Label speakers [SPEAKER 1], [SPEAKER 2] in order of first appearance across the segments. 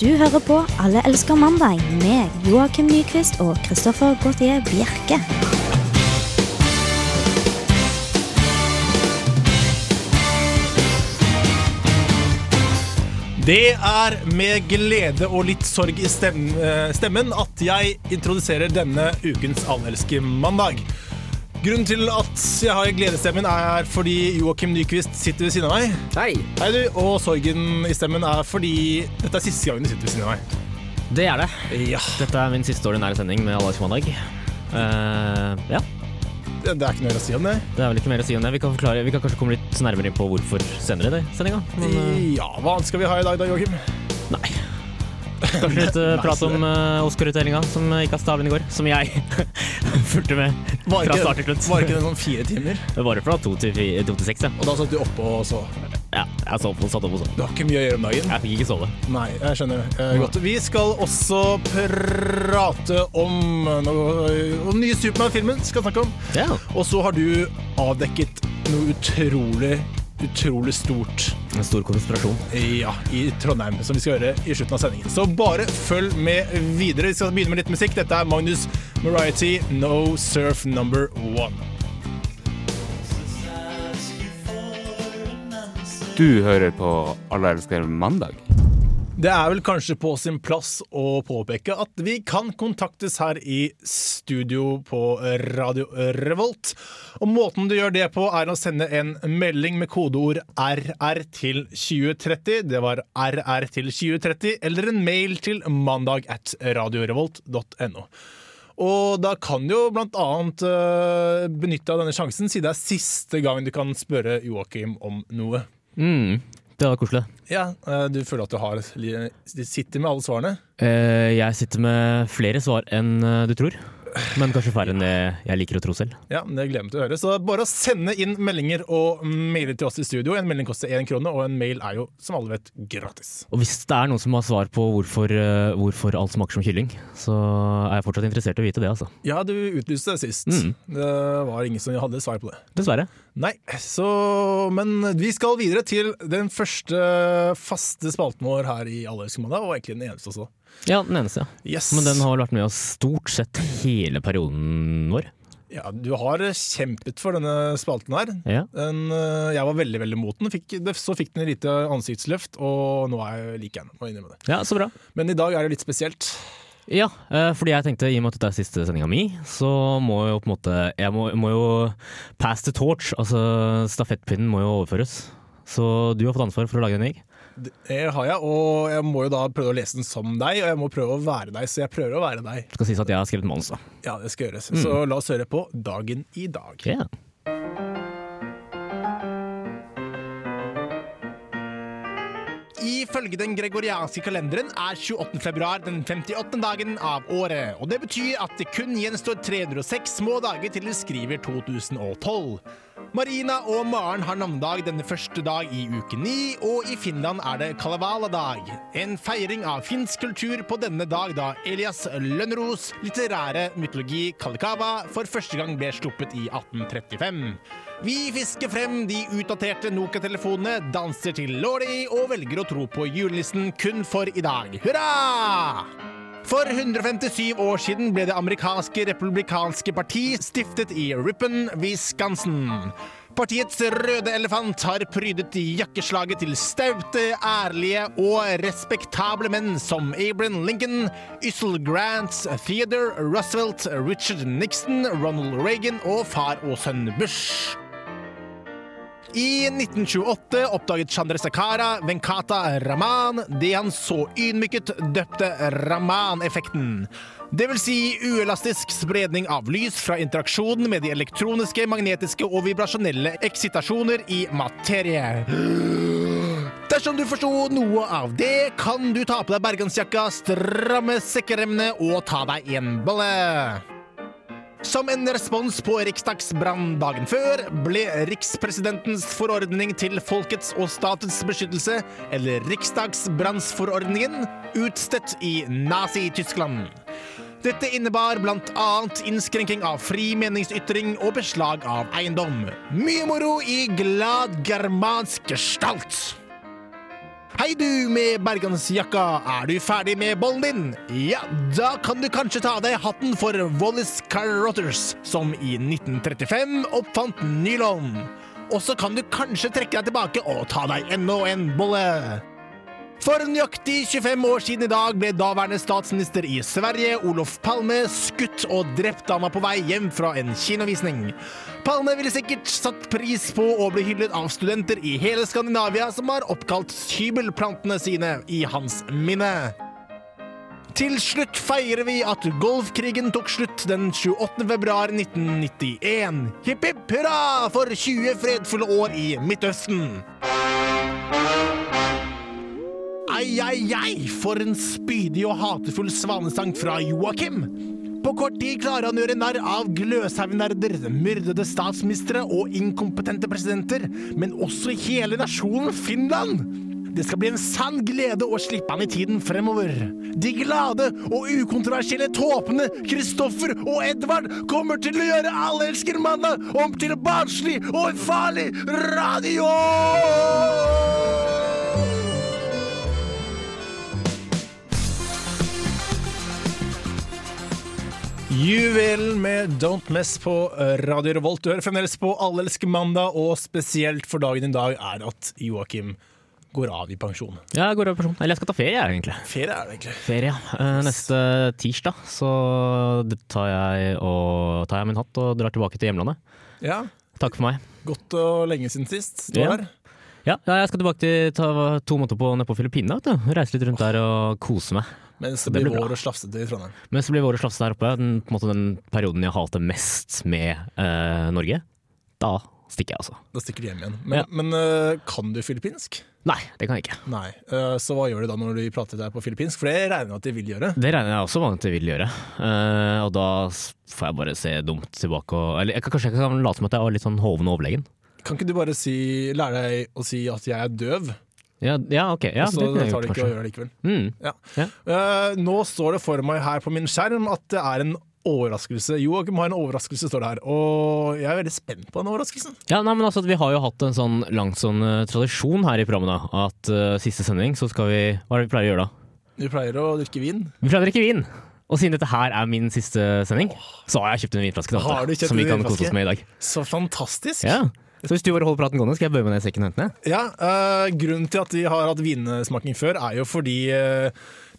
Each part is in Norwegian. [SPEAKER 1] Du hører på Alle elsker mandag med Joakim Nyquist og Christoffer Gautier Bjerke.
[SPEAKER 2] Det er med glede og litt sorg i stem, eh, stemmen at jeg introduserer denne ukens Allelske mandag. Grunnen til at jeg har gledesstemmen er fordi Joakim Nyquist sitter ved siden av meg.
[SPEAKER 3] Hei!
[SPEAKER 2] Hei du, Og sorgen i stemmen er fordi dette er siste gangen du sitter ved siden av meg.
[SPEAKER 3] Det er det.
[SPEAKER 2] Ja,
[SPEAKER 3] Dette er min siste ordinære sending med Alldags mandag. Eh, ja,
[SPEAKER 2] Det det er ikke noe mer å si om det.
[SPEAKER 3] det er vel ikke mer å si om det. Vi kan, forklare, vi kan kanskje komme litt nærmere inn på hvorfor senere i sendinga. eh,
[SPEAKER 2] Ja, Hva annet skal vi ha i dag da, Joakim?
[SPEAKER 3] Nei. Kanskje litt eh, prat om eh, Oscar-utdelinga som eh, gikk av stabelen i går. Som jeg fulgte med
[SPEAKER 2] Var
[SPEAKER 3] fra
[SPEAKER 2] ikke,
[SPEAKER 3] start til slutt.
[SPEAKER 2] var ikke det sånn fire timer?
[SPEAKER 3] Det var fra to til, fi- to til seks, ja.
[SPEAKER 2] Og da satt du oppe og så.
[SPEAKER 3] ja. Jeg sov og satt opp og sov.
[SPEAKER 2] Du har ikke mye å gjøre om dagen?
[SPEAKER 3] Jeg fikk ikke sove.
[SPEAKER 2] Nei, jeg skjønner det. Eh, godt. Vi skal også prate om noe, om nye Supermann-filmen. skal snakke om.
[SPEAKER 3] Ja.
[SPEAKER 2] Og så har du avdekket noe utrolig, utrolig stort
[SPEAKER 3] En stor konspirasjon.
[SPEAKER 2] ja, i Trondheim, som vi skal gjøre i slutten av sendingen. Så bare følg med videre. Vi skal begynne med litt musikk. Dette er Magnus Moriety, No Surf Number One.
[SPEAKER 4] Du hører på Alle elsker mandag.
[SPEAKER 2] Det er vel kanskje på sin plass å påpeke at vi kan kontaktes her i studio på Radio Revolt. Og måten du gjør det på, er å sende en melding med kodeord RR til 2030. Det var RR til 2030. Eller en mail til mandag at radiorevolt.no. Og da kan du jo blant annet øh, benytte av denne sjansen, siden det er siste gang du kan spørre Joakim om noe.
[SPEAKER 3] Mm. Det var koselig.
[SPEAKER 2] Ja, eh, Du føler at du har, de sitter med alle svarene?
[SPEAKER 3] Eh, jeg sitter med flere svar enn eh, du tror. Men kanskje færre enn det jeg liker å tro selv.
[SPEAKER 2] Ja, Det gleder jeg meg til å høre. Så bare å sende inn meldinger og mailer til oss i studio. En melding koster én krone, og en mail er jo som alle vet gratis.
[SPEAKER 3] Og hvis det er noen som har svar på hvorfor, eh, hvorfor alt smaker som kylling, så er jeg fortsatt interessert i å vite det, altså.
[SPEAKER 2] Ja, du utlyste det sist.
[SPEAKER 3] Mm.
[SPEAKER 2] Det var ingen som hadde svar på det.
[SPEAKER 3] Dessverre.
[SPEAKER 2] Nei, så Men vi skal videre til den første faste spalten vår her i Allerøyskommandet, og egentlig den eneste også.
[SPEAKER 3] Ja, den eneste, ja.
[SPEAKER 2] Yes.
[SPEAKER 3] Men den har vært med oss stort sett hele perioden vår.
[SPEAKER 2] Ja, du har kjempet for denne spalten her.
[SPEAKER 3] Ja.
[SPEAKER 2] Den, eh, jeg var veldig veldig mot den. Fikk, det- så fikk den et lite ansiktsløft, og nå er jeg like gjerne, må jeg innrømme det.
[SPEAKER 3] ja, så bra.
[SPEAKER 2] Men i dag er det litt spesielt.
[SPEAKER 3] Ja, eh, fordi jeg tenkte i og med at dette er siste sendinga mi, så må jo på en måte Jeg må, må jo pass the torch. Altså stafettpinnen må jo overføres. Så du har fått ansvar for å lage den, jeg.
[SPEAKER 2] Det har jeg, og jeg må jo da prøve å lese den som deg, og jeg må prøve å være deg, så jeg prøver å være deg.
[SPEAKER 3] Det skal sies at jeg har skrevet manus, da.
[SPEAKER 2] Ja, det skal gjøres. Så la oss høre på Dagen i dag.
[SPEAKER 3] Ja.
[SPEAKER 2] Ifølge den gregorianske kalenderen er 28. februar den 58. dagen av året. Og det betyr at det kun gjenstår 306 små dager til vi skriver 2012. Marina og Maren har navnedag denne første dag i uke ni, og i Finland er det Kalevala-dag. En feiring av finsk kultur på denne dag da Elias Lønros litterære mytologi Kallikava for første gang ble sluppet i 1835. Vi fisker frem de utdaterte Nokia-telefonene, danser til Lordi og velger å tro på julenissen kun for i dag. Hurra! For 157 år siden ble det amerikanske republikanske parti stiftet i Ripon, Wisconsin. Partiets røde elefant har prydet jakkeslaget til staute, ærlige og respektable menn som Abraham Lincoln, Yssel Grant, Theodore Roosevelt, Richard Nixon, Ronald Reagan og far og sønn Bush. I 1928 oppdaget Chandrasekhara Venkata Raman det han så ydmyket døpte Raman-effekten. Det vil si uelastisk spredning av lys fra interaksjonen med de elektroniske, magnetiske og vibrasjonelle eksitasjoner i materie. Dersom du forsto noe av det, kan du ta på deg bergensjakka, stramme sekkeremnene og ta deg en bolle. Som en respons på riksdagsbrannen dagen før ble rikspresidentens forordning til folkets og statens beskyttelse, eller riksdagsbrannsforordningen, utstedt i Nazi-Tyskland. Dette innebar bl.a. innskrenking av fri meningsytring og beslag av eiendom. Mye moro i glad germansk gestalt! Hei du med bergansjakka, er du ferdig med bollen din? Ja, da kan du kanskje ta av deg hatten for Wallace Carothers, som i 1935 oppfant nylon. Og så kan du kanskje trekke deg tilbake og ta deg enda en bolle. For nøyaktig 25 år siden i dag ble daværende statsminister i Sverige, Olof Palme, skutt og drept da han var på vei hjem fra en kinovisning. Palme ville sikkert satt pris på å bli hyllet av studenter i hele Skandinavia som har oppkalt hybelplantene sine i hans minne. Til slutt feirer vi at golfkrigen tok slutt den 28. februar 1991. Hipp hipp hurra for 20 fredfulle år i Midtøsten! Ai, ai, ai, for en spydig og hatefull svanesang fra Joakim. På kort tid klarer han å gjøre narr av gløshaugnerder, myrdede statsministre og inkompetente presidenter, men også hele nasjonen Finland. Det skal bli en sann glede å slippe han i tiden fremover. De glade og ukontroversielle tåpene Kristoffer og Edvard kommer til å gjøre Allelsker manna om til barnslig og farlig radio! Juvelen med Don't Mess på eh, Radio Revolt. Du hører fremdeles på Allelske mandag, og spesielt for dagen i dag er at Joakim går av i pensjon.
[SPEAKER 3] Ja, jeg går over person. Eller jeg skal ta ferie, jeg, egentlig.
[SPEAKER 2] Ferie er det egentlig.
[SPEAKER 3] Ferie. Eh, Neste tirsdag så tar jeg, og, tar jeg min hatt og drar tilbake til hjemlandet.
[SPEAKER 2] Ja,
[SPEAKER 3] Takk for meg.
[SPEAKER 2] Godt og lenge siden sist. Du
[SPEAKER 3] Ja.
[SPEAKER 2] var her.
[SPEAKER 3] Ja, ja, jeg skal tilbake til ta to måneder på, ned på Filippinene. vet du. Reise litt rundt der og kose meg.
[SPEAKER 2] Mens det
[SPEAKER 3] Det
[SPEAKER 2] blir
[SPEAKER 3] blir bra.
[SPEAKER 2] vår og slafsete i Trondheim.
[SPEAKER 3] Men så blir våre slafse der oppe den, på en måte den perioden jeg hater mest med eh, Norge. Da stikker jeg, altså.
[SPEAKER 2] Da stikker de hjem igjen. Men,
[SPEAKER 3] Ja.
[SPEAKER 2] men øh, kan du filippinsk?
[SPEAKER 3] Nei, det kan jeg ikke.
[SPEAKER 2] Nei. Øh, så hva gjør du da når du prater der på filippinsk? For det regner jeg med at de vil gjøre.
[SPEAKER 3] Det regner jeg også med at jeg vil gjøre. Eh, og da s- får jeg bare se dumt tilbake og Eller jeg, kan- kanskje jeg kan late som at jeg var litt sånn hoven og overlegen.
[SPEAKER 2] Kan ikke du bare si, lære deg å si at jeg er døv,
[SPEAKER 3] Ja, ja ok. Ja,
[SPEAKER 2] og så
[SPEAKER 3] kunne jeg
[SPEAKER 2] tar
[SPEAKER 3] gjort,
[SPEAKER 2] de ikke å
[SPEAKER 3] kanskje.
[SPEAKER 2] gjøre det likevel?
[SPEAKER 3] Mm.
[SPEAKER 2] Ja.
[SPEAKER 3] Ja.
[SPEAKER 2] Eh, nå står det for meg her på min skjerm at det er en overraskelse. Joakim har en overraskelse, står det her. Og jeg er veldig spent på den overraskelsen.
[SPEAKER 3] Ja, nei, men altså, Vi har jo hatt en sånn lang sånn, eh, tradisjon her i programmet da, at eh, siste sending så skal vi Hva er det vi pleier å gjøre da?
[SPEAKER 2] Vi pleier å drikke vin.
[SPEAKER 3] Vi pleier å drikke vin! Og siden dette her er min siste sending, så har jeg kjøpt en vinflaske. Da,
[SPEAKER 2] Har du kjøpt
[SPEAKER 3] som vi
[SPEAKER 2] en
[SPEAKER 3] kan
[SPEAKER 2] vinflaske?
[SPEAKER 3] kose oss med i dag.
[SPEAKER 2] Så fantastisk!
[SPEAKER 3] Ja. Så hvis du bare holder praten gående, skal jeg bøye meg ned i sekken og hente den. jeg.
[SPEAKER 2] Ja, eh, Grunnen til at vi har hatt vinsmaking før, er jo fordi eh,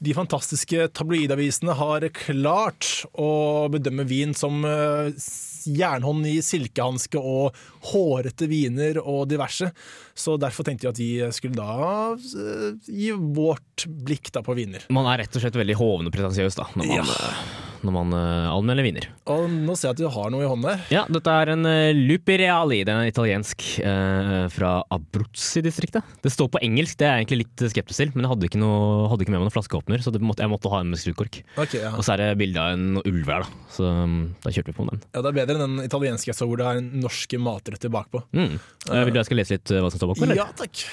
[SPEAKER 2] de fantastiske tabloidavisene har klart å bedømme vin som eh, s- jernhånd i silkehanske og hårete viner og diverse. Så derfor tenkte vi at vi skulle da eh, gi vårt blikk da på viner.
[SPEAKER 3] Man er rett og slett veldig hoven og pretensiøs da, når man, eh, når man eh, anmelder viner.
[SPEAKER 2] Og nå ser jeg at du har noe i hånden der.
[SPEAKER 3] Ja, dette er en eh, Lupi Reali. Den er italiensk, eh, fra Abruzzi-distriktet. Det står på engelsk, det er jeg egentlig litt skeptisk til, men jeg hadde ikke, noe, hadde ikke med meg noen flaskeåpner, så det måtte, jeg måtte ha en med skrukork.
[SPEAKER 2] Ok, ja.
[SPEAKER 3] Og så er det bilde av en ulv her, da. Så um, da kjørte vi på med den.
[SPEAKER 2] ja, Det er bedre enn den italienske jeg så, hvor det er norske matretter bakpå.
[SPEAKER 3] Mm. Eh, vil du jeg skal lese litt eh, hva som står bak? eller?
[SPEAKER 2] Ja takk.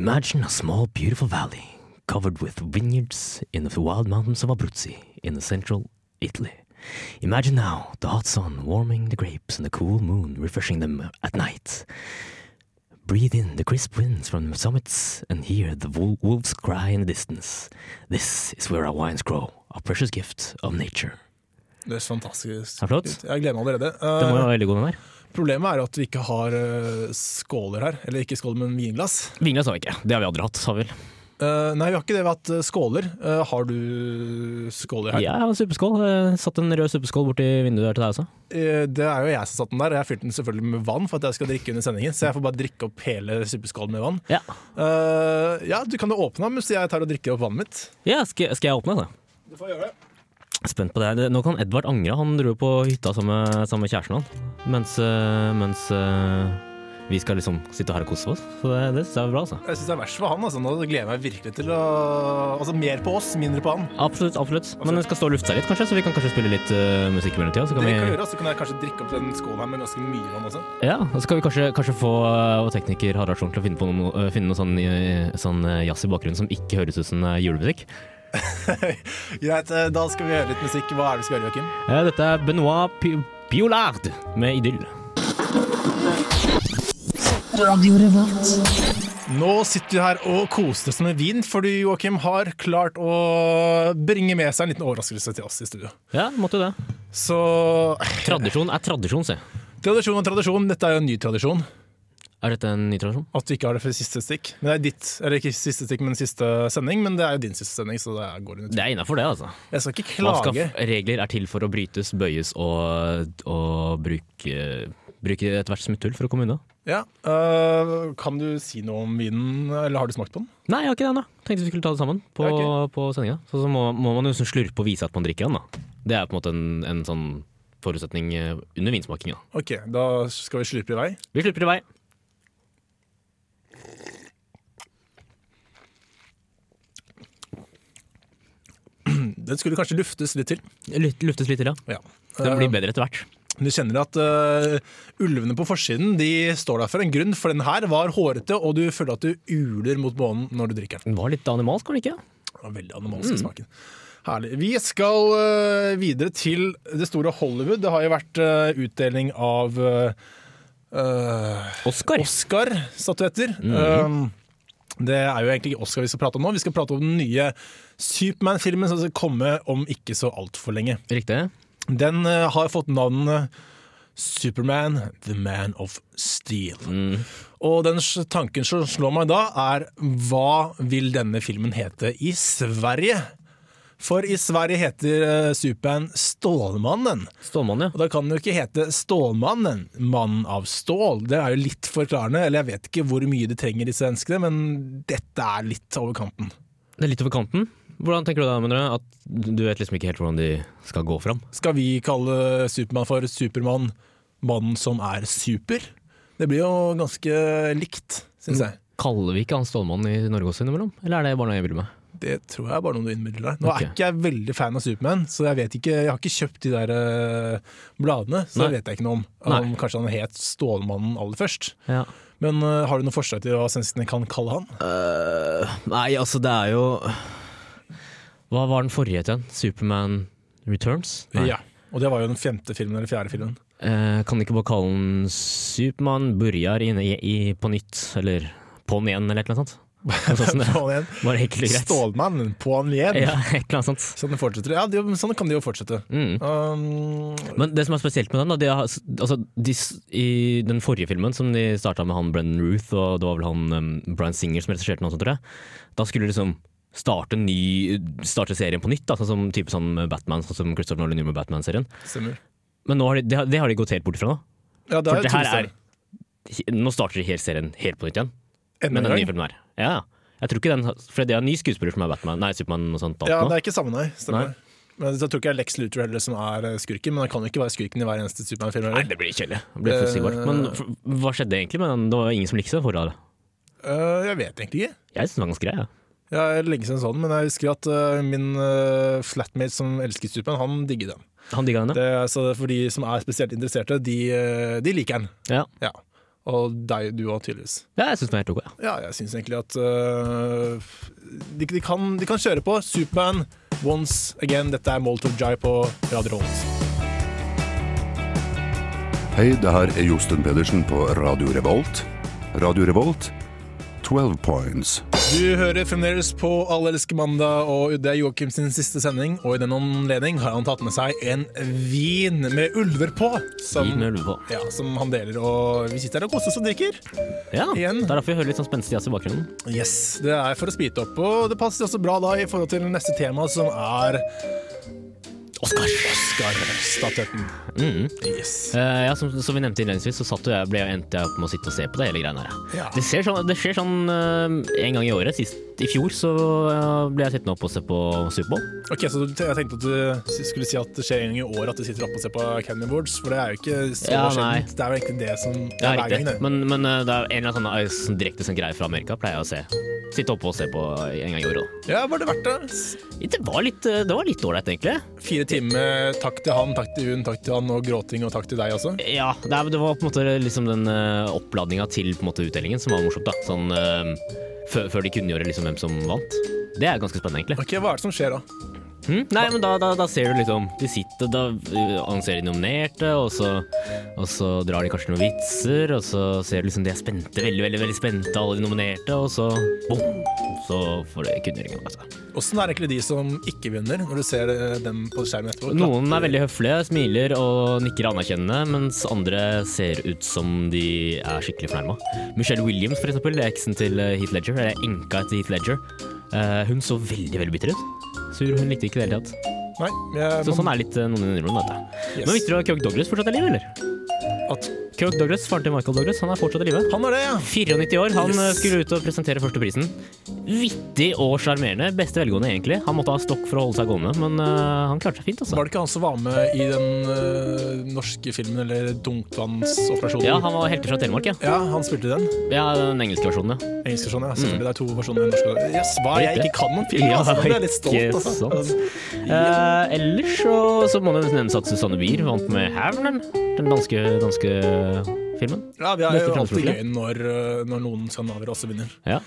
[SPEAKER 3] Imagine a small, beautiful valley covered with vineyards in the wild mountains of Abruzzi in central Italy. Imagine now the hot sun warming the grapes and the cool moon refreshing them at night. Breathe in the crisp winds from the summits and hear the wol- wolves cry in the distance. This is where our wines grow, a precious gift of nature.
[SPEAKER 2] Det er fantastisk.
[SPEAKER 3] Er det flott?
[SPEAKER 2] Jeg gleder meg allerede.
[SPEAKER 3] Den
[SPEAKER 2] Eh,
[SPEAKER 3] var jo veldig god, den der.
[SPEAKER 2] Problemet er jo at vi ikke har eh, skåler her. Eller ikke skåler, men vinglass.
[SPEAKER 3] Vinglass har vi ikke. Det har vi aldri hatt, har vi vel.
[SPEAKER 2] Eh, nei, vi har ikke det. Vi har hatt eh, skåler. Eh, har du skåler her?
[SPEAKER 3] Ja, en suppeskål. Eh, Satt en rød suppeskål borti vinduet her til deg også.
[SPEAKER 2] Eh, det er jo jeg som satt den der. og Jeg fylte den selvfølgelig med vann for at jeg skal drikke under sendingen. Så jeg får bare drikke opp hele suppeskålen med vann.
[SPEAKER 3] Ja.
[SPEAKER 2] Eh, ja, du kan jo åpne den mens jeg tar og drikker opp vannet mitt.
[SPEAKER 3] ja skal, skal jeg åpne, da?
[SPEAKER 2] Du får gjøre det.
[SPEAKER 3] Spent på det. Det- Nå kan Edvard angre. Han dro jo på hytta sammen med, sammen med kjæresten han. Mens, eh, mens eh, vi skal liksom sitte her og kose oss. Så det, det syns jeg er bra, altså.
[SPEAKER 2] Jeg syns det er verst for han. Altså. Nå gleder jeg meg virkelig til å Altså mer på oss, mindre på han.
[SPEAKER 3] Absolutt. absolutt. Men den skal stå og lufte seg litt, kanskje, så vi kan kanskje spille litt eh, musikk i mellomtida.
[SPEAKER 2] Det
[SPEAKER 3] Så kan
[SPEAKER 2] vi kan
[SPEAKER 3] vi,
[SPEAKER 2] gjøre, så kan jeg kanskje drikke opp den skålen her med ganske mye vann også.
[SPEAKER 3] ja, og så kan vi kanskje, kanskje få eh, vår tekniker Harald Sjorn til å finne på noe, eh, finne noe sånn, eh, sånn eh, jazz i bakgrunnen som ikke høres ut som eh, julemusikk.
[SPEAKER 2] Greit, eh, da skal vi høre litt musikk. Hva er det vi skal gjøre, Joakim?
[SPEAKER 3] Eh, Dette er Benoit Pi- Piolard med Idyll.
[SPEAKER 2] Nå sitter du her og koser deg som en vin, fordi Joakim har klart å bringe med seg en liten overraskelse til oss i studio.
[SPEAKER 3] Ja, måtte jo det.
[SPEAKER 2] Så eh,
[SPEAKER 3] Tradisjon er tradisjon, se.
[SPEAKER 2] tradisjon og tradisjon, dette er jo en ny tradisjon.
[SPEAKER 3] Er dette en ny tradisjon?
[SPEAKER 2] At du ikke har det for siste stikk. Men det er ditt, eller ikke siste stikk, men siste sending. Men det er jo din siste sending, så det går under.
[SPEAKER 3] Det er innafor, det, altså.
[SPEAKER 2] Jeg skal ikke
[SPEAKER 3] Man skal,
[SPEAKER 2] klage.
[SPEAKER 3] regler er til for å brytes, bøyes og, og bruke, bruke ethvert smutthull for å komme unna.
[SPEAKER 2] Ja, øh, kan du si noe om vinen, eller har du smakt på den?
[SPEAKER 3] Nei, jeg har ikke det ennå. Tenkte vi skulle ta det sammen på,
[SPEAKER 2] Ja,
[SPEAKER 3] på sendinga. Så, så må, må man jo sånn slurpe og vise at man drikker den, da. Det er på en måte en, en sånn forutsetning eh, under vinsmakinga.
[SPEAKER 2] Ok, da skal vi slurpe i vei.
[SPEAKER 3] Vi slurper i vei.
[SPEAKER 2] Den skulle kanskje luftes litt til.
[SPEAKER 3] Luft- Luftes litt til, ja.
[SPEAKER 2] Ja.
[SPEAKER 3] Den blir bedre etter hvert.
[SPEAKER 2] Du kjenner at øh, ulvene på forsiden de står der for en grunn, for den her var hårete, og du føler at du uler mot månen når du drikker den.
[SPEAKER 3] Den var litt animalsk, var den ikke?
[SPEAKER 2] Det var Veldig animalsk i smaken. Herlig. Vi skal øh, videre til det store Hollywood. Det har jo vært øh, utdeling av eh, øh,
[SPEAKER 3] Oscar.
[SPEAKER 2] Oscar-statuetter. Um, det er jo egentlig ikke Oscar vi skal prate om nå. Vi skal prate om den nye Supermann-filmen som skal komme om ikke så altfor lenge.
[SPEAKER 3] Riktig.
[SPEAKER 2] Den eh, har fått navnet Superman, The Man of Steel. Og den s- tanken som slår meg da, er hva vil denne filmen hete i Sverige? For i Sverige heter eh, Superman Stålmannen.
[SPEAKER 3] Stålmann, ja.
[SPEAKER 2] Og da kan den jo ikke hete Stålmannen, mannen av stål. Det er jo litt forklarende, eller jeg vet ikke hvor mye de trenger de svenskene, men dette er litt over kanten.
[SPEAKER 3] Det er litt over kanten. Hvordan tenker du da, mener du? At du vet liksom ikke helt hvordan de skal gå fram?
[SPEAKER 2] Skal vi kalle Supermann for Supermann, mannen som er super? Det blir jo ganske likt, syns jeg.
[SPEAKER 3] Kaller vi ikke han Stålmannen i Norge også innimellom? Eller er det bare noe jeg vil med?
[SPEAKER 2] Det tror jeg er bare noe du innbiller deg. Nå
[SPEAKER 3] Ok.
[SPEAKER 2] er ikke jeg veldig fan av Supermann, så jeg vet ikke, jeg har ikke kjøpt de der eh, bladene, så
[SPEAKER 3] Nei.
[SPEAKER 2] det vet jeg ikke noe om. Om
[SPEAKER 3] Nei.
[SPEAKER 2] kanskje han het Stålmannen aller først.
[SPEAKER 3] Ja.
[SPEAKER 2] Men eh, har du noen forslag til hva svenskene kan kalle han?
[SPEAKER 3] Nei, altså det er jo Hva var den forrige til den? Superman Returns? Nei.
[SPEAKER 2] Ja. Og det var jo den femte filmen, eller fjerde filmen.
[SPEAKER 3] Eh, kan du ikke bare kalle den Superman Burjar inne i, i På nytt, eller På'n igjen, eller et eller annet sånt? Noe sånt som det.
[SPEAKER 2] På'n igjen.
[SPEAKER 3] Bare enkelt og Sånn, greit.
[SPEAKER 2] Stålmannen, på'n igjen.
[SPEAKER 3] Ja, et eller annet sånt.
[SPEAKER 2] Sånn, det fortsetter. ja, det, sånn kan de jo fortsette.
[SPEAKER 3] Mm.
[SPEAKER 2] Um,
[SPEAKER 3] Men det som er spesielt med den, da, de har, altså, de, s- i den forrige filmen som de starta med han Brendan Ruth, og det var vel han um, Brian Singer som regisserte den også, tror jeg, da skulle de liksom starte, en ny, starte serien på nytt, da, sånn som type sånn Batman, sånn som Christopher Nolan gjorde med Batman-serien.
[SPEAKER 2] stemmer.
[SPEAKER 3] Men nå har de, det, har, det har de gått helt bort fra nå.
[SPEAKER 2] Ja, det
[SPEAKER 3] For
[SPEAKER 2] er
[SPEAKER 3] det her er
[SPEAKER 2] tullestedet.
[SPEAKER 3] Nå starter de hele serien helt på nytt igjen,
[SPEAKER 2] Enda
[SPEAKER 3] med
[SPEAKER 2] en
[SPEAKER 3] den nye
[SPEAKER 2] gang.
[SPEAKER 3] filmen her. Ja, ja. jeg tror ikke den, har- For det er en ny skuespiller som er Batman, nei, Superman og sånt. alt
[SPEAKER 2] Ja,
[SPEAKER 3] nå.
[SPEAKER 2] det er ikke samme, nei. Stemmer. Men jeg tror ikke det er Lex Luthor heller som er eh, skurken, men han kan jo ikke være skurken i hver eneste Supermann-film.
[SPEAKER 3] Nei,
[SPEAKER 2] heller.
[SPEAKER 3] det blir kjedelig. Det blir forutsigbart.
[SPEAKER 2] Eh.
[SPEAKER 3] Men f- hva skjedde egentlig med den? Det var ingen som likte den forrige.
[SPEAKER 2] Eh, jeg vet egentlig ikke.
[SPEAKER 3] Jeg syns den var ganske grei. Ja.
[SPEAKER 2] Ja, Jeg legger seg sånn, men jeg husker at eh, min eh, flatmate som elsker Supermann, han digger den.
[SPEAKER 3] Han digga henne?
[SPEAKER 2] Det, er- så for de som er spesielt interesserte, de, eh, de liker den.
[SPEAKER 3] Ja.
[SPEAKER 2] Ja. Og deg, du òg, tydeligvis.
[SPEAKER 3] ja, jeg syns den er helt ok. Ja.
[SPEAKER 2] Ja, jeg syns egentlig at øh, de, de, kan, de kan kjøre på. Superman, Once Again. Dette er Molotov Jai på Radio Revolt.
[SPEAKER 5] Hei, det her er Josten Pedersen på Radio Revolt. Radio Revolt, 12 points.
[SPEAKER 2] Du hører fremdeles på Alle elsker mandag, og det er Joakim sin siste sending. Og i den anledning har han tatt med seg en vin med ulver på. Som,
[SPEAKER 3] Gikk med ulve på.
[SPEAKER 2] ja, som han deler, og vi sitter her og koser oss og drikker.
[SPEAKER 3] Ja,
[SPEAKER 2] Igjen.
[SPEAKER 3] Det er derfor vi hører litt sånn spenstig jazz i bakgrunnen.
[SPEAKER 2] Yes, Det er for å spite opp, og det passer også bra da i forhold til neste tema, som er Oscar. Oscar-statuetten. Yes.
[SPEAKER 3] Eh, ja, som, som vi nevnte innledningsvis, så satt jo jeg, ble jeg endte jeg opp med å sitte og se på det hele greiene her.
[SPEAKER 2] Ja.
[SPEAKER 3] Det, ser sånn, det skjer sånn eh, en gang i året. Sist, I fjor så eh, ble jeg sittende opp og se på Superbowl.
[SPEAKER 2] Ok, så du- Jeg tenkte at du skulle si at det skjer en gang i år at du sitter oppe og ser på Academy Awards, for det er jo ikke så
[SPEAKER 3] Ja, nei.
[SPEAKER 2] sjeldent. Det er vel egentlig det som det
[SPEAKER 3] Ja,
[SPEAKER 2] er hver gang,
[SPEAKER 3] riktig.
[SPEAKER 2] det.
[SPEAKER 3] Men, men eh, det er en eller annen sånn, sånn direktesendt greie fra Amerika pleier jeg å se. Sitte oppe og se på en gang i året. da.
[SPEAKER 2] Ja, var det verdt det? S-
[SPEAKER 3] Det var litt eh, det var litt ålreit, egentlig.
[SPEAKER 2] Fire timer. Takk til han, takk til hun, takk til han, og gråting, og takk til deg også.
[SPEAKER 3] Ja, det, er, det var på en måte liksom den uh, oppladninga til på en måte, utdelingen som var morsomt. da sånn, eh, før, før de kunngjorde liksom, hvem som vant. Det er ganske spennende, egentlig.
[SPEAKER 2] Ok, Hva er det som skjer da?
[SPEAKER 3] Hm? Nei, men da, da, da ser du liksom De sitter, da eh, annonserer de nominerte, og så, og så drar de kanskje noen vitser, og så ser du liksom de er spente, veldig, veldig veldig spente, alle de nominerte, og så bom! Så får det kunngjøringa. Altså.
[SPEAKER 2] Åssen er egentlig de som ikke vinner, når du ser eh, dem på skjermen etterpå?
[SPEAKER 3] Noen
[SPEAKER 2] eh,
[SPEAKER 3] er veldig høflige, smiler og nikker anerkjennende, mens andre ser ut som de er skikkelig fornærma. Michelle Williams, for eksempel, det er eksen til eh, Heath Ledger, eller enka etter Heath Ledger, eh, hun så veldig, veldig bitter ut. Sur, hun likte ikke det i det hele tatt.
[SPEAKER 2] Nei, jeg,
[SPEAKER 3] Så sånn er litt eh, noen innimellom, dette.
[SPEAKER 2] Yes.
[SPEAKER 3] Men visste du at Kirk Douglas fortsatt er i live, eller?
[SPEAKER 2] At-
[SPEAKER 3] Kirk Douglas, faren til Michael Douglas, han er fortsatt i live.
[SPEAKER 2] Han er det, ja.
[SPEAKER 3] 94 år, han
[SPEAKER 2] Yes.
[SPEAKER 3] eh, skulle ut og presentere første prisen. Vittig og sjarmerende. Beste velgående, egentlig. Han måtte ha stokk for å holde seg gående, men eh, han klarte seg fint, altså.
[SPEAKER 2] Var det ikke han som var med i den eh, norske filmen, eller dunktvansoperasjonen?
[SPEAKER 3] Ja, han var helter fra Telemark, ja.
[SPEAKER 2] Ja, han spilte i den.
[SPEAKER 3] ja den engelske versjonen, ja.
[SPEAKER 2] Engelsk versjon, ja. Selvfølgelig. Det er to versjoner i norsk. og- Yes, hva jeg ikke kan om film,
[SPEAKER 3] Ja,
[SPEAKER 2] altså. Nå ble jeg litt
[SPEAKER 3] ikke
[SPEAKER 2] stolt, altså.
[SPEAKER 3] sant. Eh, ellers så, så må det nevnes at Susanne Bier vant med Havnen, den danske, danske filmen.
[SPEAKER 2] Ja, vi har jo
[SPEAKER 3] Neste
[SPEAKER 2] alltid
[SPEAKER 3] transfer.
[SPEAKER 2] gøy når, eh, når noen skandinaver også vinner.
[SPEAKER 3] Ja.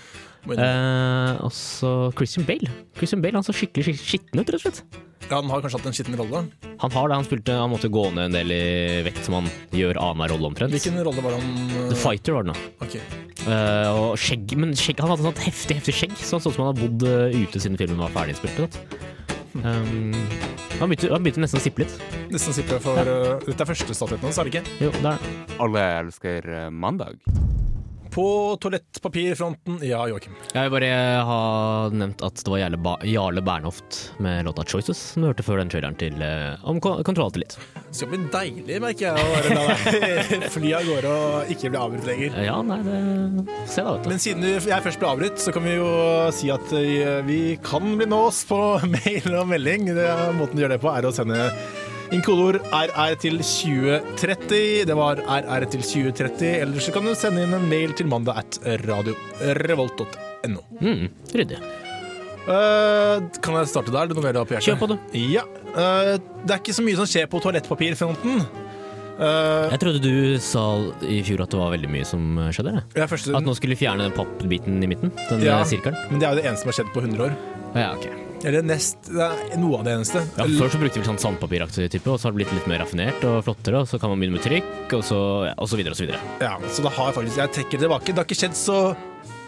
[SPEAKER 2] Må innrømme.
[SPEAKER 3] Eh, og så Christian Bale. Christian Bale han så skikkelig skikkelig skitten ut, rett og slett.
[SPEAKER 2] Ja, han har kanskje hatt en skitten rolle.
[SPEAKER 3] Han har det, han spilte Han måtte gå ned en del i vekt, som han gjør annenhver rolle omtrent.
[SPEAKER 2] Hvilken rolle var han
[SPEAKER 3] The Fighter var det nå.
[SPEAKER 2] Ok.
[SPEAKER 3] Eh, og skjegg, men skjegg, han hadde sånt heftig heftig skjegg, så han så ut som han hadde bodd eh, ute siden filmen var ferdig innspilt. sant?
[SPEAKER 2] Hm.
[SPEAKER 3] Um, han, begynte, han begynte nesten å sippe litt.
[SPEAKER 2] Nesten sikker for eh, Dette er første statuetten hans, er det ikke?
[SPEAKER 3] Jo, det er det.
[SPEAKER 4] Alle elsker eh, mandag.
[SPEAKER 2] På toalettpapirfronten Ja, Joakim.
[SPEAKER 3] Jeg vil bare ha nevnt at det var Jarle, ba Jarle Bernhoft med låta 'Choices' som du hørte før den traileren til eh, om kon- kontroll til litt.
[SPEAKER 2] Så det blir deilig, merker jeg, å være la deg fly av gårde og ikke bli avbrutt lenger.
[SPEAKER 3] Eh, ja, nei, det Se da, vet du.
[SPEAKER 2] Men siden du- jeg først ble avbrutt, så kan vi jo si at eh, vi kan bli nås på mail og melding. Det, måten du gjør det på, er å sende inkodord RR til 2030. Det var RR til 2030. Eller så kan du sende inn en mail til mandag at radiorevolt.no.
[SPEAKER 3] Mm, ryddig.
[SPEAKER 2] Eh, kan jeg starte der? Er Det noe mer du har på hjertet?
[SPEAKER 3] Kjør på, du.
[SPEAKER 2] Ja. eh, det er ikke så mye som skjer på toalettpapirfronten. Eh,
[SPEAKER 3] Jeg trodde du sa i fjor at det var veldig mye som eh, skjedde. jeg.
[SPEAKER 2] det er første
[SPEAKER 3] At nå skulle de fjerne den pappbiten i midten? Den
[SPEAKER 2] Ja.
[SPEAKER 3] eh, sirkelen?
[SPEAKER 2] Men det er jo det eneste som har skjedd på 100 år.
[SPEAKER 3] Ja, ok.
[SPEAKER 2] Eller nest, det er noe av det eneste.
[SPEAKER 3] Ja, før så brukte vi sånn sandpapiraktig type, og så har det blitt litt mer raffinert og flottere, og så kan man begynne med trykk, og så, ja, og så videre og så videre.
[SPEAKER 2] Ja, så det har faktisk Jeg trekker det tilbake. Det har ikke skjedd så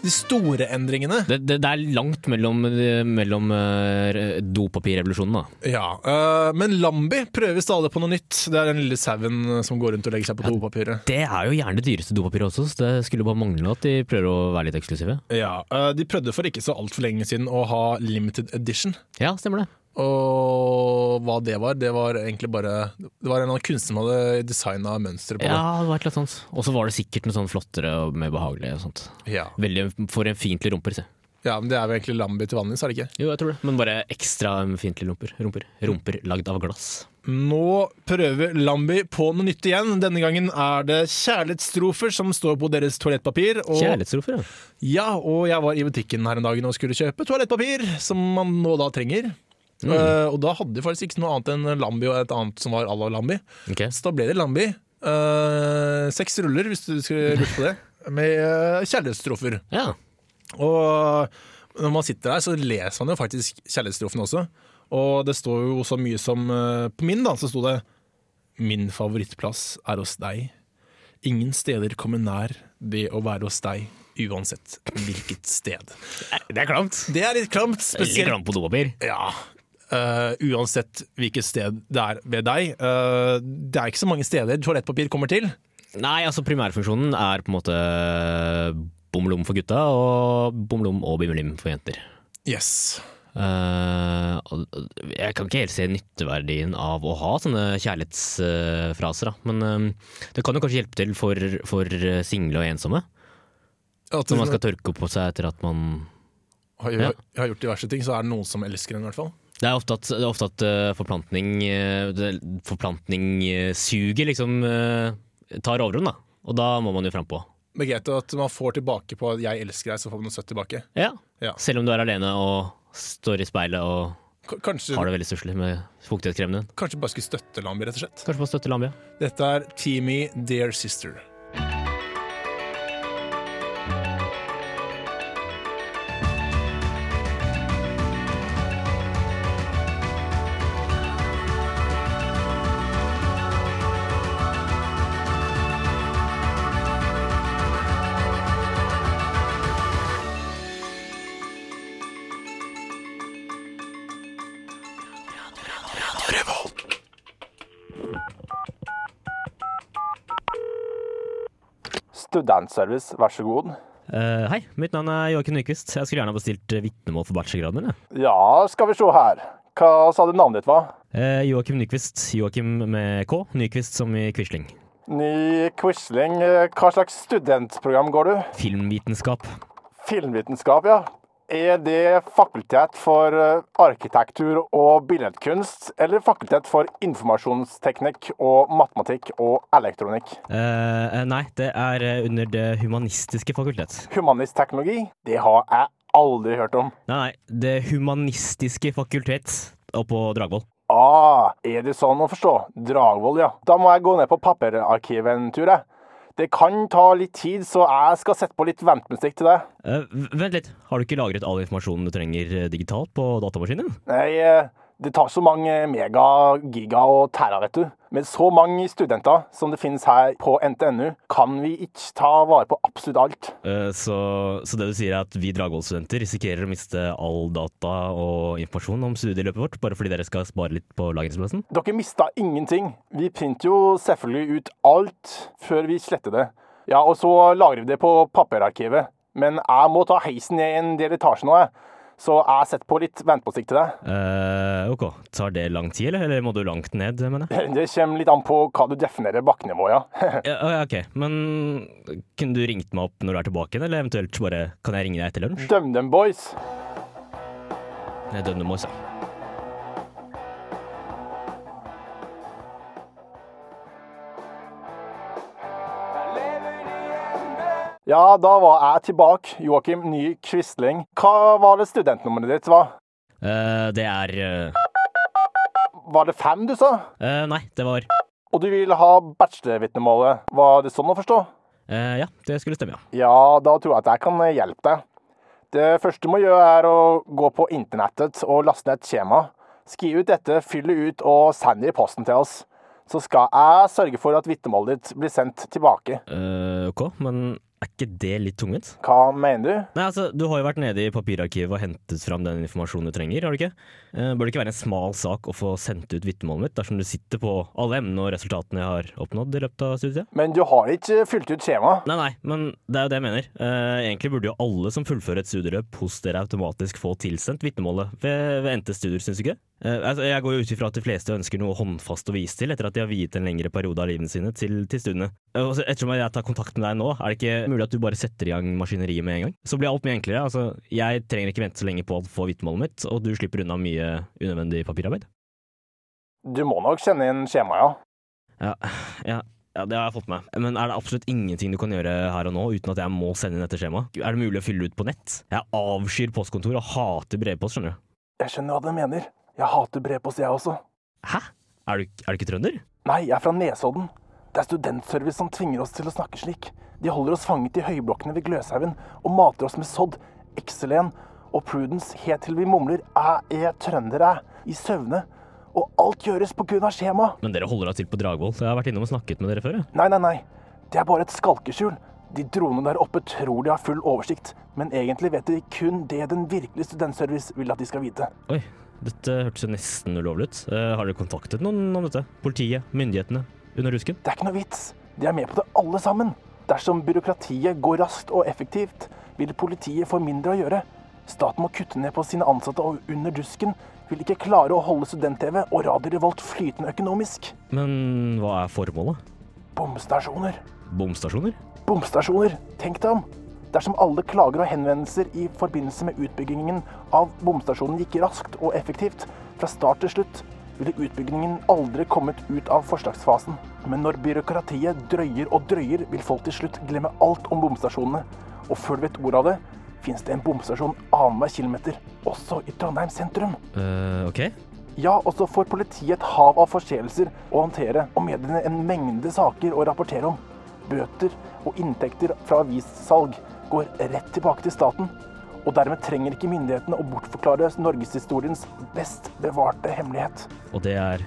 [SPEAKER 2] de store endringene.
[SPEAKER 3] Det, det, det er langt mellom, mellom eh, dopapirrevolusjonen, da.
[SPEAKER 2] Ja, øh, Men Lambi prøver stadig på noe nytt. Det er den lille sauen som går rundt og legger seg på dopapiret.
[SPEAKER 3] Det er jo gjerne det dyreste dopapiret også, så det skulle bare mangle at de prøver å være litt eksklusive.
[SPEAKER 2] Ja, øh, De prøvde for ikke så altfor lenge siden å ha limited edition.
[SPEAKER 3] Ja, stemmer det.
[SPEAKER 2] Og hva det var, det var egentlig bare Det var en eller annen kunstner som hadde designa mønsteret på
[SPEAKER 3] Ja, det var et eller annet sånt. Og så var det sikkert noe sånn flottere og mer behagelig og sånt.
[SPEAKER 2] det. Ja.
[SPEAKER 3] Veldig for en fientlig rumper, se.
[SPEAKER 2] ja, men det er vel egentlig Lambi til vanlig, så er det ikke?
[SPEAKER 3] Jo, jeg tror det. Men bare ekstra fientlig rumper. Rumper, rumper lagd av glass.
[SPEAKER 2] Nå prøver Lambi på noe nytt igjen. Denne gangen er det kjærlighetstrofer som står på deres toalettpapir. Og
[SPEAKER 3] Kjærlighetsrofer, ja.
[SPEAKER 2] Ja, og jeg var i butikken her en dag og skulle kjøpe toalettpapir, som man nå da trenger. Eh, og da hadde de faktisk ikke noe annet enn Lambi og et annet som var à la Lambi.
[SPEAKER 3] Ok.
[SPEAKER 2] Så da ble det Lambi. Eh, seks ruller, hvis du skulle lure på det, med eh, kjærlighetstrofer.
[SPEAKER 3] Ja.
[SPEAKER 2] Og når man sitter der, så leser man jo faktisk kjærlighetstrofen også. Og det står jo så mye som eh, På min, da, så sto det Min favorittplass er hos deg. Ingen steder kommer nær det å være hos deg, uansett hvilket sted.
[SPEAKER 3] Det er klamt.
[SPEAKER 2] Det er litt klamt.
[SPEAKER 3] Veldig
[SPEAKER 2] Spesielt
[SPEAKER 3] klamt på dopapir.
[SPEAKER 2] Ja. Eh, uansett hvilket sted det er ved deg. Eh, det er ikke så mange steder toalettpapir kommer til.
[SPEAKER 3] Nei, altså primærfunksjonen er på en måte bomlom for gutta og bomlom og bimmelim for jenter.
[SPEAKER 2] Yes.
[SPEAKER 3] Eh, og- og jeg kan ikke helt se nytteverdien av å ha sånne kjærlighetsfraser, da. Men eh, det kan jo kanskje hjelpe til for, for eh, single og ensomme.
[SPEAKER 2] At
[SPEAKER 3] Når man skal tørke opp på seg etter at man
[SPEAKER 2] har,
[SPEAKER 3] Ja.
[SPEAKER 2] gjort, har gjort diverse ting, så er det noen som elsker en, i hvert fall.
[SPEAKER 3] Det er ofte at, det er ofte at eh, forplantning eh, det- Forplantning eh, suger, liksom eh, tar overhånd, da. Og da må man jo frampå.
[SPEAKER 2] Det er greit at man får tilbake på at 'jeg elsker deg', så får man noe søtt tilbake.
[SPEAKER 3] Ja.
[SPEAKER 2] Ja.
[SPEAKER 3] Selv om du er alene og står i speilet og
[SPEAKER 2] K kanskje,
[SPEAKER 3] har det veldig stusslig med fuktighetskremen din.
[SPEAKER 2] kanskje bare skulle støtte Lambi, rett og slett.
[SPEAKER 3] Kanskje man støtter Lambia.
[SPEAKER 2] Dette er Teamy Dear Sister.
[SPEAKER 5] Revolt.
[SPEAKER 6] Studentservice, vær så god.
[SPEAKER 3] Eh, hei, mitt navn er Joakim Nyquist. Jeg skulle gjerne ha bestilt eh, vitnemål for bachelorgraden min. jeg.
[SPEAKER 6] Ja, skal vi se her. Hva sa du navnet ditt var?
[SPEAKER 3] Eh, Joakim Nyquist. Joakim med K. Nyquist som i Quisling.
[SPEAKER 6] Ny Quisling, eh, hva slags studentprogram går du?
[SPEAKER 3] Filmvitenskap.
[SPEAKER 6] Filmvitenskap, ja. Er det fakultet for eh, arkitektur og billedkunst, eller fakultet for informasjonsteknikk og matematikk og elektronikk?
[SPEAKER 3] Eh, eh, nei, det er eh, under Det humanistiske fakultet.
[SPEAKER 6] Humanist teknologi, det har jeg aldri hørt om.
[SPEAKER 3] Nei, nei, Det humanistiske fakultet oppe på Dragvoll.
[SPEAKER 6] Ah, er det sånn å forstå? Dragvoll, ja. Da må jeg gå ned på papirarkivet en tur, jeg. Det kan ta litt tid, så jeg skal sette på litt ventmusikk til deg.
[SPEAKER 3] Eh, v- vent litt, har du ikke lagret all informasjonen du trenger eh, digitalt på datamaskinen? din?
[SPEAKER 6] Nei, eh, det tar så mange mega, giga og terra, vet du. Med så mange studenter som det finnes her på NTNU, kan vi ikke ta vare på absolutt alt.
[SPEAKER 3] Eh, så, så det du sier er at vi Dragvoll-studenter risikerer å miste all data og informasjon om studieløpet vårt, bare fordi dere skal spare litt på lagringsplassen?
[SPEAKER 6] Dere mista ingenting. Vi printer jo selvfølgelig ut alt før vi sletter det. Ja, og så lagrer vi det på papirarkivet. Men jeg må ta heisen ned en del etasjer nå, jeg. Så jeg setter på litt ventemusikk til deg.
[SPEAKER 3] Eh, ok, tar det lang tid, eller? Eller må du langt ned, mener jeg?
[SPEAKER 6] Det kommer litt an på hva du definerer bakkenivå, ja.
[SPEAKER 3] Ja, ja, ok, men kunne du ringt meg opp når du er tilbake igjen, eller eventuelt bare kan jeg ringe deg etter lunsj?
[SPEAKER 6] DumDum Boys.
[SPEAKER 3] Nei, Dønnemoy, sa.
[SPEAKER 6] Ja, da var jeg tilbake. Joakim Ny Quisling. Hva var det studentnummeret ditt var?
[SPEAKER 3] Eh, det er eh,
[SPEAKER 6] Var det fem du sa?
[SPEAKER 3] eh, Nei, det var
[SPEAKER 6] Og du ville ha bachelorvitnemålet. Var det sånn å forstå?
[SPEAKER 3] eh, Ja, det skulle stemme, ja.
[SPEAKER 6] Ja, da tror jeg at jeg kan eh, hjelpe deg. Det første du må gjøre, er å gå på internettet og laste ned et skjema. Skriv ut dette, fyll det ut og send det i posten til oss. Så skal jeg sørge for at vitnemålet ditt blir sendt tilbake.
[SPEAKER 3] Eh, ok, men er ikke det litt tungvint?
[SPEAKER 6] Hva mener du?
[SPEAKER 3] Nei, altså, Du har jo vært nede i papirarkivet og hentet fram den informasjonen du trenger. har du ikke? Eh, bør det ikke være en smal sak å få sendt ut vitnemålet mitt dersom du sitter på alle emnene og resultatene jeg har oppnådd i løpet av studiet?
[SPEAKER 6] Men du har ikke fylt ut skjemaet.
[SPEAKER 3] Nei, nei, men det er jo det jeg mener. Eh, egentlig burde jo alle som fullfører et studieløp hos dere, automatisk få tilsendt vitnemålet ved, ved endte studier, syns du ikke? Eh, altså, jeg går jo ut ifra at de fleste ønsker noe håndfast å vise til etter at de har viet en lengre periode av livene sine til, til studiene. Eh, og så ettersom jeg tar kontakt med deg nå, er det ikke mulig at du bare setter i gang maskineriet med en gang? Så blir alt mye enklere. Altså, jeg trenger ikke vente så lenge på å få vitnemålet mitt, og du slipper unna mye unødvendig papirarbeid.
[SPEAKER 6] Du må nok kjenne inn skjemaet, ja.
[SPEAKER 3] Ja, ja, ja, det har jeg fått med. Men er det absolutt ingenting du kan gjøre her og nå uten at jeg må sende inn dette skjemaet? Er det mulig å fylle ut på nett? Jeg avskyr postkontor og hater brevpost, skjønner du.
[SPEAKER 6] Jeg skjønner hva du mener. Jeg hater brevpost, jeg også.
[SPEAKER 3] Hæ? Er du, er du ikke trønder?
[SPEAKER 6] Nei, jeg er fra Nesodden. Det er studentservice som tvinger oss til å snakke slik. De holder oss fanget i høyblokkene ved Gløshaugen og mater oss med sodd, excelen og prudence helt til vi mumler æ er trønder æ i søvne. Og alt gjøres på grunn av skjema.
[SPEAKER 3] Men dere holder da til på Dragvoll. Jeg har vært innom og snakket med dere før. jeg.
[SPEAKER 6] Nei, nei, nei. Det er bare et skalkeskjul. De dronene der oppe tror de har full oversikt, men egentlig vet de kun det den virkelige studentservice vil at de skal vite.
[SPEAKER 3] Oi, dette hørtes jo nesten ulovlig ut. Eh, har dere kontaktet noen om dette? Politiet? Myndighetene? Under rusken?
[SPEAKER 6] Det er ikke noe vits. De er med på det alle sammen. Dersom byråkratiet går raskt og effektivt, vil politiet få mindre å gjøre. Staten må kutte ned på sine ansatte, og under dusken vil ikke klare å holde student-TV og Radio Revolt flytende økonomisk.
[SPEAKER 3] Men hva er formålet?
[SPEAKER 6] Bomstasjoner.
[SPEAKER 3] Bomstasjoner?
[SPEAKER 6] Bomstasjoner. Tenk deg om. Dersom alle klager og henvendelser i forbindelse med utbyggingen av bomstasjonen gikk raskt og effektivt fra start til slutt, ville utbyggingen aldri kommet ut av forslagsfasen. Men når byråkratiet drøyer og drøyer, vil folk til slutt glemme alt om bomstasjonene. Og før du vet ordet av det, finnes det en bomstasjon annenhver kilometer, også i Trondheim sentrum.
[SPEAKER 3] Eh, ok.
[SPEAKER 6] Ja, og så får politiet et hav av forseelser å håndtere, og mediene en mengde saker å rapportere om. Bøter og inntekter fra avissalg går rett tilbake til staten. Og dermed trenger ikke myndighetene å bortforklare norgeshistoriens best bevarte hemmelighet.
[SPEAKER 3] Og det er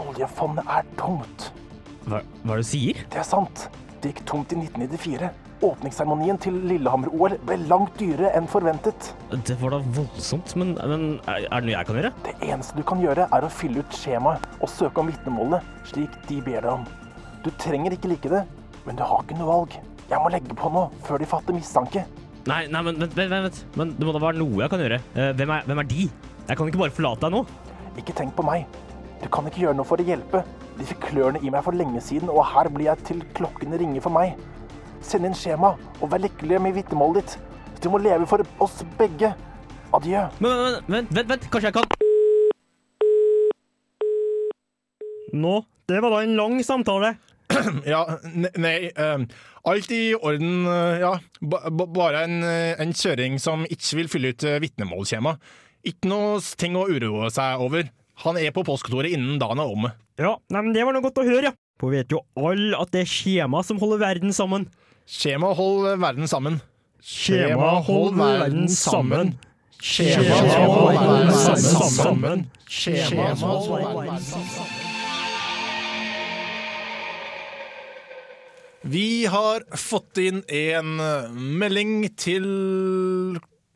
[SPEAKER 6] Oljefondet er tomt.
[SPEAKER 3] Hva, hva er det du sier?
[SPEAKER 6] Det er sant. Det gikk tomt i 1994. åpningsseremonien til Lillehammer-OL ble langt dyrere enn forventet.
[SPEAKER 7] Det var da voldsomt, men, men er er det noe jeg kan gjøre?
[SPEAKER 6] Det eneste du kan gjøre, er å fylle ut skjemaet og søke om vitnemålene slik de ber deg om. Du trenger ikke like det, men du har ikke noe valg. Jeg må legge på nå, før de fatter mistanke.
[SPEAKER 7] Nei, nei, men vent, vent, vent. vent. Men det må da være noe jeg kan gjøre. Eh, Hvem er, hvem er de? Jeg kan ikke bare forlate deg nå.
[SPEAKER 6] Ikke tenk på meg. Du kan ikke gjøre noe for å hjelpe. De fikk klørne i meg for lenge siden, og her blir jeg til klokkene ringer for meg. Send inn skjema, og vær lykkelig med vitnemålet ditt. Du må leve for oss begge. Adjø.
[SPEAKER 7] Men, men, men vent, vent, vent, kanskje jeg kan Nå, det var da en lang samtale.
[SPEAKER 2] Ja, ne- nei ehm, Alt i orden, eh, ja. Ba, ba, bare en, eh, en kjøring som ikke vil fylle ut eh, vitnemålskjema. Ikke noe s- ting å uroe seg over. Han er på postkontoret innen dagen er omme.
[SPEAKER 7] Ja, nei, men det var noe godt å høre, ja. For vet jo alle at det er skjema som holder verden sammen.
[SPEAKER 2] Skjema hold verden sammen.
[SPEAKER 7] Skjema hold verden sammen.
[SPEAKER 2] Skjema
[SPEAKER 7] hold verden sammen.
[SPEAKER 2] Skjema hold verden sammen. Vi har fått inn en melding til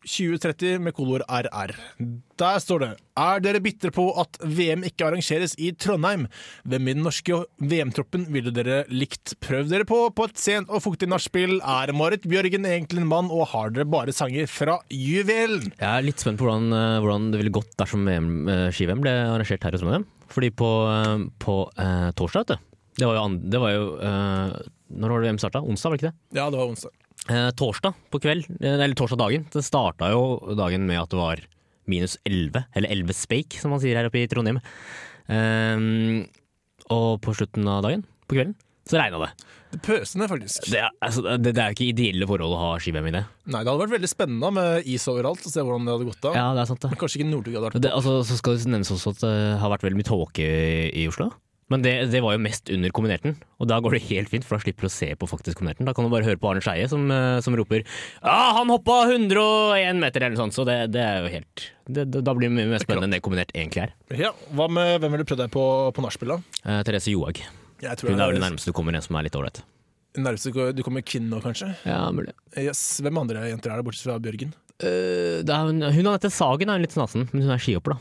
[SPEAKER 2] 2030 med kolor RR. Der står det Er dere bitre på at VM ikke arrangeres i Trondheim? Hvem i den norske VM-troppen ville dere likt prøvd dere på på et sent og fuktig nachspiel? Er Marit Bjørgen egentlig en mann, og har dere bare sanger fra juvelen?
[SPEAKER 7] Jeg er litt spent på hvordan, eh, hvordan det ville gått dersom VM, eh, ski-VM ble arrangert her i Trondheim. Fordi på, eh, på eh, torsdag, vet du. Det var jo, an- det var jo eh, Når var det VM starta? Onsdag, var det ikke det?
[SPEAKER 2] Ja, det var onsdag.
[SPEAKER 7] Eh, torsdag på kveld, eh, eller torsdag dagen, det starta jo dagen med at det var minus 11, eller 11 speik, som man sier her oppe i Trondheim. Ehm, og på slutten av dagen, på kvelden, så regna det.
[SPEAKER 2] Det pøsende, faktisk.
[SPEAKER 7] Det er, altså, det, det er jo ikke ideelle forhold å ha ski-VM i det.
[SPEAKER 2] Nei, det hadde vært veldig spennende med is overalt, å se hvordan det hadde gått da.
[SPEAKER 7] Ja, det er sant det.
[SPEAKER 2] Kanskje ikke Northug hadde vært
[SPEAKER 7] det altså, så skal det nevnes også at det har vært veldig mye tåke i, i Oslo. Men det, det var jo mest under kombinerten, og da går det helt fint, for da slipper du å se på faktisk kombinerten. Da kan du bare høre på Arne Skeie som, eh, som roper «Ja, han hoppa 101 meter!» eller noe sånt, så det, det er jo helt det, det, Da blir det mye mer spennende enn det kombinert egentlig er.
[SPEAKER 2] Ja, hva med, Hvem ville du prøvd deg på på nachspiel, da?
[SPEAKER 7] Eh, Therese Johaug.
[SPEAKER 2] Jeg tror det
[SPEAKER 7] Hun er vel det nærmeste du kommer en som er litt ålreit.
[SPEAKER 2] nærmeste du- du kommer kvinne nå, kanskje?
[SPEAKER 7] Ja, mulig.
[SPEAKER 2] Yes. Hvem andre jenter er det, bortsett fra Bjørgen?
[SPEAKER 7] Eh, det er hun, hun Anette Sagen er litt snasen, men hun er skihopper, da.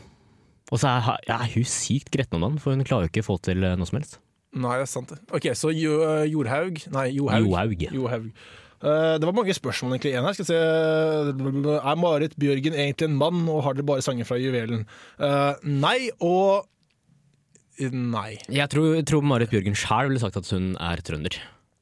[SPEAKER 7] Og så er, ja, hun er sykt gretten om dagen, for hun klarer jo ikke å få til eh, noe som helst.
[SPEAKER 2] Nei, det er sant. det. Ok, Så jo, eh, Jorhaug Nei, Johaug.
[SPEAKER 7] Johaug.
[SPEAKER 2] Johaug. Eh, det var mange spørsmål egentlig igjen her. Skal vi se Er Marit Bjørgen egentlig en mann, og har dere bare sanger fra juvelen? Eh, nei og Nei.
[SPEAKER 7] Jeg tror, jeg tror Marit Bjørgen sjæl ville sagt at hun er trønder.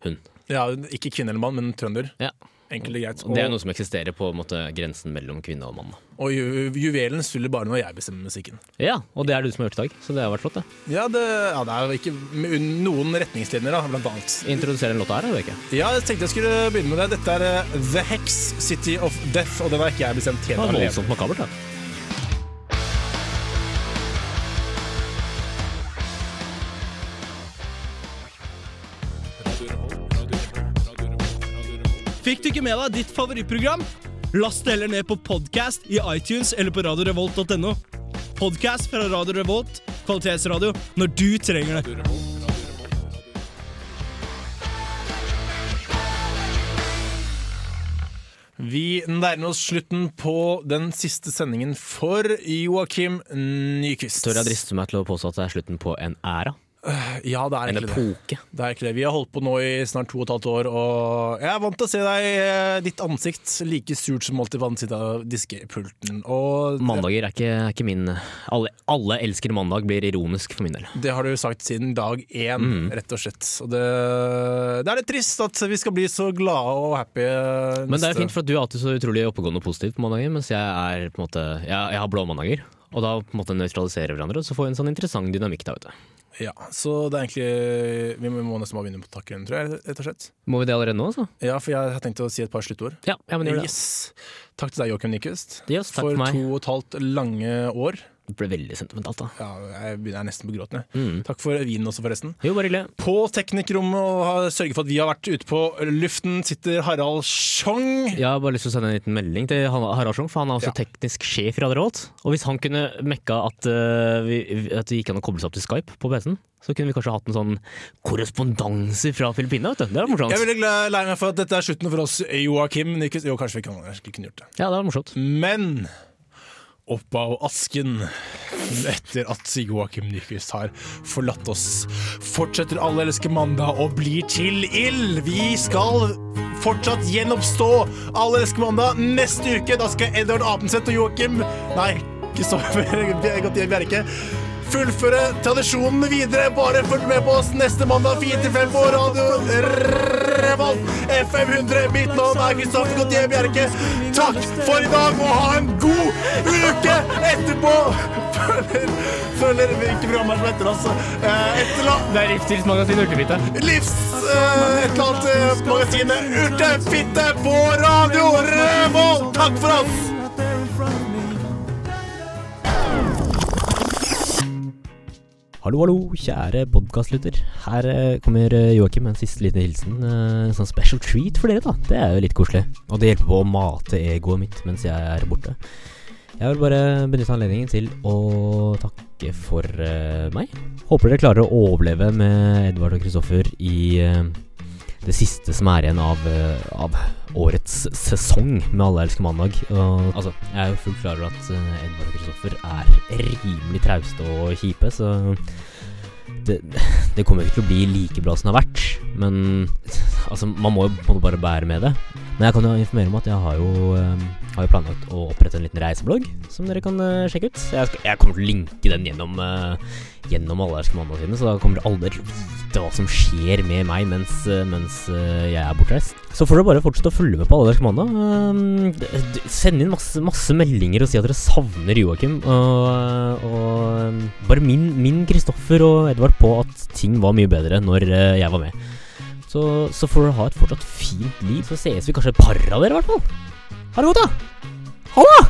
[SPEAKER 7] Hun.
[SPEAKER 2] Ja, ikke kvinne eller mann, men trønder.
[SPEAKER 7] Ja.
[SPEAKER 2] Enkelt og greit.
[SPEAKER 7] Og det er noe som eksisterer på en måte, grensen mellom kvinne og mann.
[SPEAKER 2] Og ju juvelen spiller bare når jeg bestemmer musikken.
[SPEAKER 7] Ja, og det er det du som har gjort i dag, så det har vært flott. det
[SPEAKER 2] Ja, det, ja, det er jo ikke med noen retningslinjer, da, blant annet.
[SPEAKER 7] Introdusere en låt her, eller ikke?
[SPEAKER 2] Ja, jeg tenkte jeg skulle begynne med det. Dette er eh, The Hex, City of Death, og den har ikke jeg bestemt
[SPEAKER 7] Det
[SPEAKER 2] helt
[SPEAKER 7] var
[SPEAKER 2] alene.
[SPEAKER 7] voldsomt makabert. Da.
[SPEAKER 8] Fikk du ikke med deg ditt favorittprogram? Last det heller ned på podcast i iTunes eller på radiorevolt.no. Podcast fra Radio Revolt, kvalitetsradio, når du trenger det.
[SPEAKER 2] Vi nærmer oss slutten på den siste sendingen for Joakim Nyquist.
[SPEAKER 7] Tør jeg driste meg til å påstå at det er slutten på en æra?
[SPEAKER 2] Ja, det er
[SPEAKER 7] En
[SPEAKER 2] egentlig det.
[SPEAKER 7] epoke?
[SPEAKER 2] Det er ikke det. Vi har holdt på nå i snart to og et halvt år, og jeg er vant til å se deg, eh, ditt ansikt, like surt som alltid på ansiktet av diskepulten. Og
[SPEAKER 7] Mandager er ikke, er ikke min alle, alle elsker mandag, blir ironisk for min del.
[SPEAKER 2] Det har du sagt siden dag én,
[SPEAKER 7] Mm.
[SPEAKER 2] rett og slett. Og det, det er litt trist at vi skal bli så glade og happy. eh,
[SPEAKER 7] Men det er fint, for at du er alltid så utrolig oppegående og positiv på mandager, mens jeg er på en måte Jeg, jeg har blå mandager. Og da på en måte nøytraliserer hverandre, og så får vi en sånn interessant dynamikk der ute.
[SPEAKER 2] Ja, så det er egentlig Vi må- vi må nesten bare begynne på takken, tror jeg, rett og slett.
[SPEAKER 7] Må vi det allerede nå, altså?
[SPEAKER 2] Ja, for jeg har tenkt å si et par sluttord.
[SPEAKER 7] Ja, ja men gjør det.
[SPEAKER 2] Yes. Takk til deg, Joakim Nyquist,
[SPEAKER 7] Yes, takk
[SPEAKER 2] for
[SPEAKER 7] for meg.
[SPEAKER 2] to og et halvt lange år.
[SPEAKER 9] Det ble veldig sentimentalt, da.
[SPEAKER 2] Ja, jeg begynner nesten på gråten. jeg.
[SPEAKER 9] Mm.
[SPEAKER 2] Takk for vinen også, forresten.
[SPEAKER 9] Jo, bare ille.
[SPEAKER 2] På teknikkrommet og har sørget for at vi har vært ute på luften, sitter Harald Schjong.
[SPEAKER 9] Jeg har bare lyst til å sende en liten melding til Han- Harald Schjong, for han er også teknisk sjef i Radio Revolt. Og hvis han kunne mekka at, eh, vi, at det gikk an å koble seg opp til Skype på PC-en, så kunne vi kanskje hatt en sånn korrespondanse fra Filippinene, vet du. Det hadde vært morsomt.
[SPEAKER 2] Jeg er veldig glad- lei meg for at dette er slutten for oss, Joakim. Nyquist. Jo, kanskje vi kan, kanskje vi kunne gjort det.
[SPEAKER 9] Ja, det hadde vært morsomt.
[SPEAKER 2] Men opp av asken etter at Joakim Nyquist har forlatt oss, fortsetter Alle elsker mandag og blir til ild. Vi skal fortsatt gjenoppstå Alle elsker mandag neste uke. Da skal Edvard Apenseth og Joakim Nei, Kristoffer Gautier Bjerke fullføre tradisjonen videre. Bare følg med på oss neste mandag 4 til 5 på radio Revolt FM 100. Mitt navn er Kristoffer Gautier Bjerke. Takk for i dag og ha en god uke etterpå! Følger, følger hvilke programmer som heter oss. Eh, Etterla...
[SPEAKER 9] Det er Livsstilsmagasinet Urtefitte.
[SPEAKER 2] Livs... eh, Et eller annet eh, magasinet Urtefitte på radio Revolt! Takk for oss!
[SPEAKER 9] Hallo, hallo, kjære podkastlytter. Her eh, kommer eh, Joakim med en siste liten hilsen. eh, En sånn special treat for dere, da. Det er jo litt koselig. Og det hjelper på å mate egoet mitt mens jeg er borte. Jeg vil bare benytte anledningen til å takke for eh, meg. Håper dere klarer å overleve med Edvard og Kristoffer i eh, det siste som er igjen av, eh, av årets sesong med Alle elsker mandag. Og, altså, jeg er jo fullt klar over at eh, Edvard og Kristoffer er rimelig trauste og kjipe, så det, det kommer jo ikke til å bli like bra som det har vært, men altså, man må jo på en måte bare bære med det. Men jeg kan jo informere om at jeg har jo, eh, har jo planlagt å opprette en liten reiseblogg som dere kan eh, sjekke ut. Jeg, skal, jeg kommer til å linke den gjennom, eh, gjennom alle elsker mandag sine, så da kommer dere aldri til å vite hva som skjer med meg mens, eh, mens eh, jeg er bortreist. Så får dere bare fortsette å følge med på alle elsker mandag. Eh, d- d- Send inn masse, masse meldinger og si at dere savner Joakim. Og, og eh, bare minn min Kristoffer og Edvard på at ting var mye bedre når eh, jeg var med. Så, så får dere ha et fortsatt fint liv. Så ses vi kanskje et par av dere, i hvert fall. Ha det godt, da! Ha det!